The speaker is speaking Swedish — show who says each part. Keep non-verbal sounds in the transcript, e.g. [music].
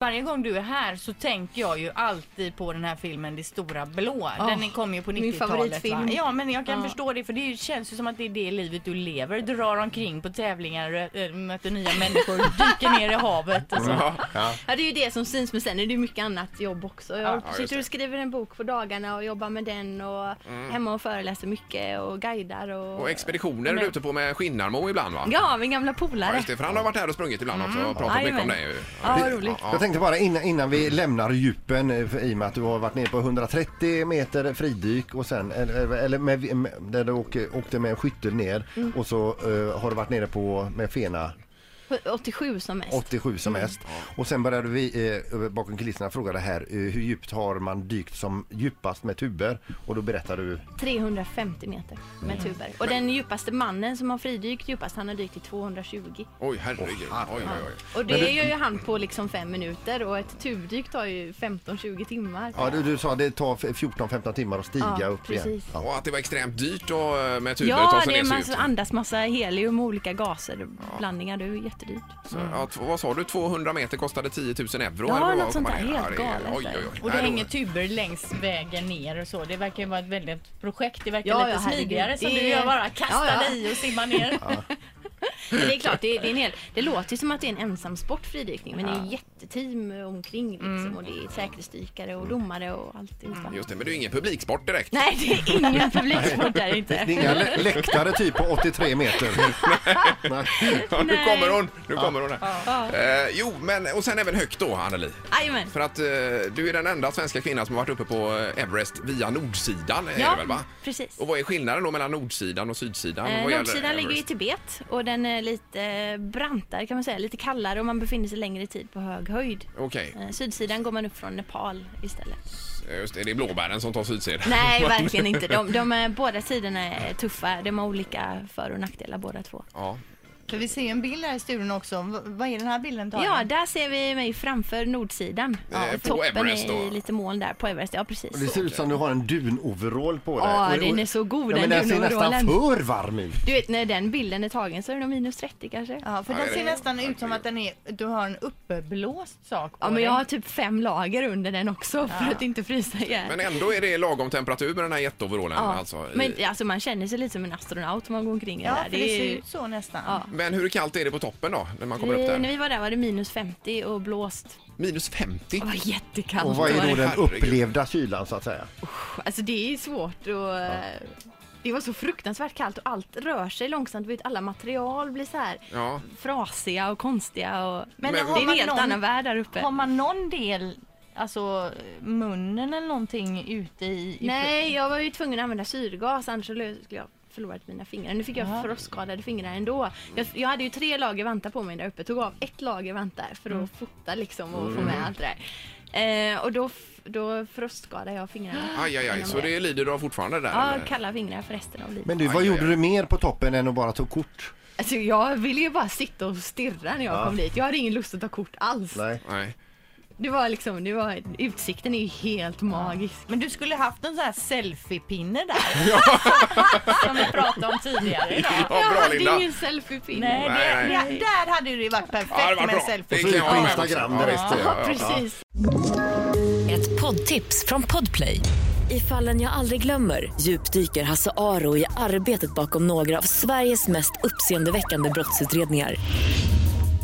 Speaker 1: Varje gång du är här så tänker jag ju alltid på den här filmen Det stora blå.
Speaker 2: Ah,
Speaker 1: den kom ju på
Speaker 2: min
Speaker 1: 90-talet.
Speaker 2: favoritfilm.
Speaker 1: va? Ja men jag kan
Speaker 2: Ja.
Speaker 1: förstå det för det känns ju som att det är det livet du lever. Drar omkring på tävlingar, rö- äh, möter nya människor, dyker ner i havet.
Speaker 2: Alltså.
Speaker 1: Och så.
Speaker 3: Ja.
Speaker 2: Ja, det är ju det som syns, men sen är det ju mycket annat jobb också. Jag
Speaker 3: ja, just
Speaker 2: sitter
Speaker 3: det. Mm.
Speaker 2: och skriver en bok på dagarna och jobbar med den och hemma och föreläser mycket och guidar och...
Speaker 3: Och expeditioner är du
Speaker 2: Men-
Speaker 3: ute på med Skinnarmo ibland va?
Speaker 2: Ja, min gamla
Speaker 3: Ja,
Speaker 2: polare.
Speaker 3: just det, för han har varit här och sprungit ibland också och pratat mycket om
Speaker 2: Jajamän.
Speaker 3: det. ju.
Speaker 2: Ja, vad roligt.
Speaker 3: Ja,
Speaker 4: Jag tänkte bara innan, innan vi lämnar djupen eh, för- i och med att du har varit nere på 130 meter fridyk och sen eller, eller med, med, där du åkte, åkte med skyttel ner
Speaker 2: Mm.
Speaker 4: och så eh, har du varit nere på med fena
Speaker 2: 87 som mest.
Speaker 4: 87 som
Speaker 2: Mm.
Speaker 4: mest och sen började vi eh, bakom kulisserna fråga det här eh, hur djupt har man dykt som djupast med tuber och då berättar du
Speaker 2: 350 meter
Speaker 3: Mm.
Speaker 2: med tuber. Och den djupaste mannen som har fridykt djupast, han har dykt i 220.
Speaker 3: Oj, herregud. Oj, oj, oj.
Speaker 2: Och
Speaker 4: Men
Speaker 2: det
Speaker 4: det-
Speaker 2: gör ju han på liksom fem minuter och ett tubdyk tar ju 15-20 timmar.
Speaker 4: ja du, du sa det tar 14-15 timmar att stiga
Speaker 2: Ja,
Speaker 4: upp igen.
Speaker 2: precis.
Speaker 4: Ja.
Speaker 3: Och att det var extremt dyrt och med tuber
Speaker 2: Ja,
Speaker 3: ta sig
Speaker 2: det
Speaker 3: ner
Speaker 2: är
Speaker 3: så
Speaker 2: massa,
Speaker 3: djupt.
Speaker 2: andas massa helium och olika gaser, blandningar, det är ju jättedyrt.
Speaker 3: Så, ja, t- vad sa du, 200 meter kostade 10 000 euro?
Speaker 2: Ja,
Speaker 3: eller vad
Speaker 2: något
Speaker 3: var
Speaker 2: sånt där.
Speaker 3: komma ner?
Speaker 2: Helt
Speaker 3: Ja, det är-
Speaker 2: galet,
Speaker 3: Oj, oj, oj.
Speaker 1: Och det
Speaker 3: Nej, då-
Speaker 1: hänger tuber längs vägen ner och så. Det verkar ju vara ett väldigt projekt. Det verkar
Speaker 2: Ja,
Speaker 1: lite
Speaker 2: ja, herregud.
Speaker 1: smidigare som
Speaker 2: Det-
Speaker 1: du gör bara kastar
Speaker 2: Ja, ja.
Speaker 1: dig och simmar ner.
Speaker 2: Men det är klart, det, är, det, är en hel, det låter ju som att det är en ensam sport fridykning men det är ju jätteteam omkring liksom, och det är säkerhetsdykare och domare och alltihopa.
Speaker 3: Mm. Just det, men det är ju ingen publiksport direkt.
Speaker 2: Nej, det är
Speaker 3: [laughs]
Speaker 2: ingen publiksport där
Speaker 4: Det
Speaker 2: inte.
Speaker 4: är inga lä- läktare typ på
Speaker 2: [laughs]
Speaker 4: 83 meter. Nej.
Speaker 3: Ja, nu
Speaker 2: Nej.
Speaker 3: kommer hon! Nu kommer hon här.
Speaker 2: Ja.
Speaker 3: Eh, jo, men och sen även högt då, Anneli.
Speaker 2: Jajamän.
Speaker 3: För att eh, du är den enda svenska kvinnan som har varit uppe på eh, Everest via nordsidan. Är det väl, va?
Speaker 2: precis.
Speaker 3: Och vad är skillnaden då mellan nordsidan och sydsidan?
Speaker 2: Eh,
Speaker 3: vad gäller
Speaker 2: Nordsidan ligger i
Speaker 3: Everest?
Speaker 2: Tibet och den är lite eh, brantare kan man säga, lite kallare och man befinner sig längre tid på hög höjd.
Speaker 3: Okej,
Speaker 2: Eh, Sydsidan går man upp från Nepal
Speaker 3: [laughs]
Speaker 2: istället.
Speaker 3: just det. Det är blåbären som tar sydsidan. [laughs]
Speaker 2: Nej, verkligen inte. De, de är, båda sidorna är tuffa. De har olika för och nackdelar båda två.
Speaker 3: Ja.
Speaker 1: För vi ser ju en bild här i studion också. V- vad är den här bilden tagen?
Speaker 2: Ja, där ser vi mig framför nordsidan.
Speaker 3: Eh,
Speaker 2: Ja,
Speaker 3: på
Speaker 2: toppen
Speaker 3: Everest då?
Speaker 2: är i lite moln där på Everest. Ja, precis.
Speaker 4: Det ser ut som du har en dunoverall på dig.
Speaker 2: Ja,
Speaker 4: Och- och-
Speaker 2: den är så god,
Speaker 4: ja, men
Speaker 2: den
Speaker 4: Den ser nästan
Speaker 2: dunoverallen.
Speaker 4: för varm ut.
Speaker 2: Du vet, när den bilden är tagen så är det nog minus 30 kanske.
Speaker 1: Ja, för
Speaker 3: Ja,
Speaker 1: den
Speaker 3: det är
Speaker 1: ser
Speaker 3: det.
Speaker 1: nästan ut som att den är, du har en uppblåst sak på
Speaker 2: Ja, men
Speaker 1: dig.
Speaker 2: jag har typ fem lager under den också för att inte frysa ihjäl.
Speaker 3: Men ändå är det lagom temperatur med den här jätteoverallen.
Speaker 2: Ja.
Speaker 3: Alltså, i... men...
Speaker 2: men alltså, man känner sig lite som en astronaut om man går omkring i
Speaker 1: Ja,
Speaker 2: där.
Speaker 1: för det ser
Speaker 2: ju-
Speaker 1: ut så nästan.
Speaker 2: Ja.
Speaker 3: hur kallt är det på toppen då, när man kommer upp
Speaker 2: vi, när
Speaker 3: där?
Speaker 2: vi var där var det minus 50 och blåst.
Speaker 3: Minus 50?
Speaker 2: Det var jättekallt.
Speaker 4: Och vad är då
Speaker 2: var det.
Speaker 4: den
Speaker 3: Herregud.
Speaker 4: upplevda kylan så att säga?
Speaker 2: Alltså det är svårt och... eh, Det var så fruktansvärt kallt och allt rör sig långsamt. Du Vet, alla material blir så här
Speaker 3: Ja.
Speaker 2: frasiga och konstiga. Och...
Speaker 1: Men,
Speaker 3: Men-
Speaker 2: det är
Speaker 1: har,
Speaker 2: en
Speaker 1: man
Speaker 2: helt
Speaker 1: någon,
Speaker 2: annan värld där uppe.
Speaker 1: har man någon del, alltså munnen eller någonting ute i? i-
Speaker 2: Nej, jag var ju tvungen att använda syrgas annars så lö- skulle jag förlorat mina fingrar. Nu fick jag
Speaker 1: Jaha.
Speaker 2: frostskadade fingrar ändå. Jag, jag hade ju tre lager vantar på mig där uppe. Tog av ett lager vantar för att fota liksom och
Speaker 3: Mm.
Speaker 2: få med allt det där. Eh, och då, f- då frostskadade jag fingrarna.
Speaker 3: Aj, aj, aj.
Speaker 2: Genom
Speaker 3: Så det lider du av fortfarande där?
Speaker 2: Ja,
Speaker 3: eller?
Speaker 2: kalla fingrar för resten av livet.
Speaker 4: Men du,
Speaker 3: Aj,
Speaker 4: vad
Speaker 3: aj,
Speaker 4: gjorde
Speaker 3: aj.
Speaker 4: du mer på toppen än att bara ta kort?
Speaker 2: Alltså jag ville ju bara sitta och stirra när jag kom dit. Jag hade ingen lust att ta kort alls.
Speaker 4: Nej.
Speaker 3: Nej.
Speaker 2: Det var liksom, det var, utsikten är ju helt magisk.
Speaker 1: Men du skulle haft en sån här selfiepinne där.
Speaker 3: [laughs]
Speaker 1: [laughs] som vi pratade om tidigare idag.
Speaker 3: Ja,
Speaker 2: jag
Speaker 3: bra
Speaker 2: hade
Speaker 3: Linda.
Speaker 2: ingen selfie-pinne.
Speaker 1: Nej, det,
Speaker 3: Nej, nej.
Speaker 1: Det, där hade det ju varit perfekt
Speaker 3: Ja, det var
Speaker 1: med en
Speaker 3: bra.
Speaker 1: selfie.
Speaker 3: Det
Speaker 4: Och så ut
Speaker 3: kan jag
Speaker 4: på
Speaker 3: ha med mig.
Speaker 4: Instagram
Speaker 3: Ja,
Speaker 4: direkt.
Speaker 3: visst, det. Ja, ja.
Speaker 2: Precis.
Speaker 5: Ett poddtips från Podplay. I fallen jag aldrig glömmer djupdyker Hasse Aro i arbetet bakom några av Sveriges mest uppseendeväckande brottsutredningar.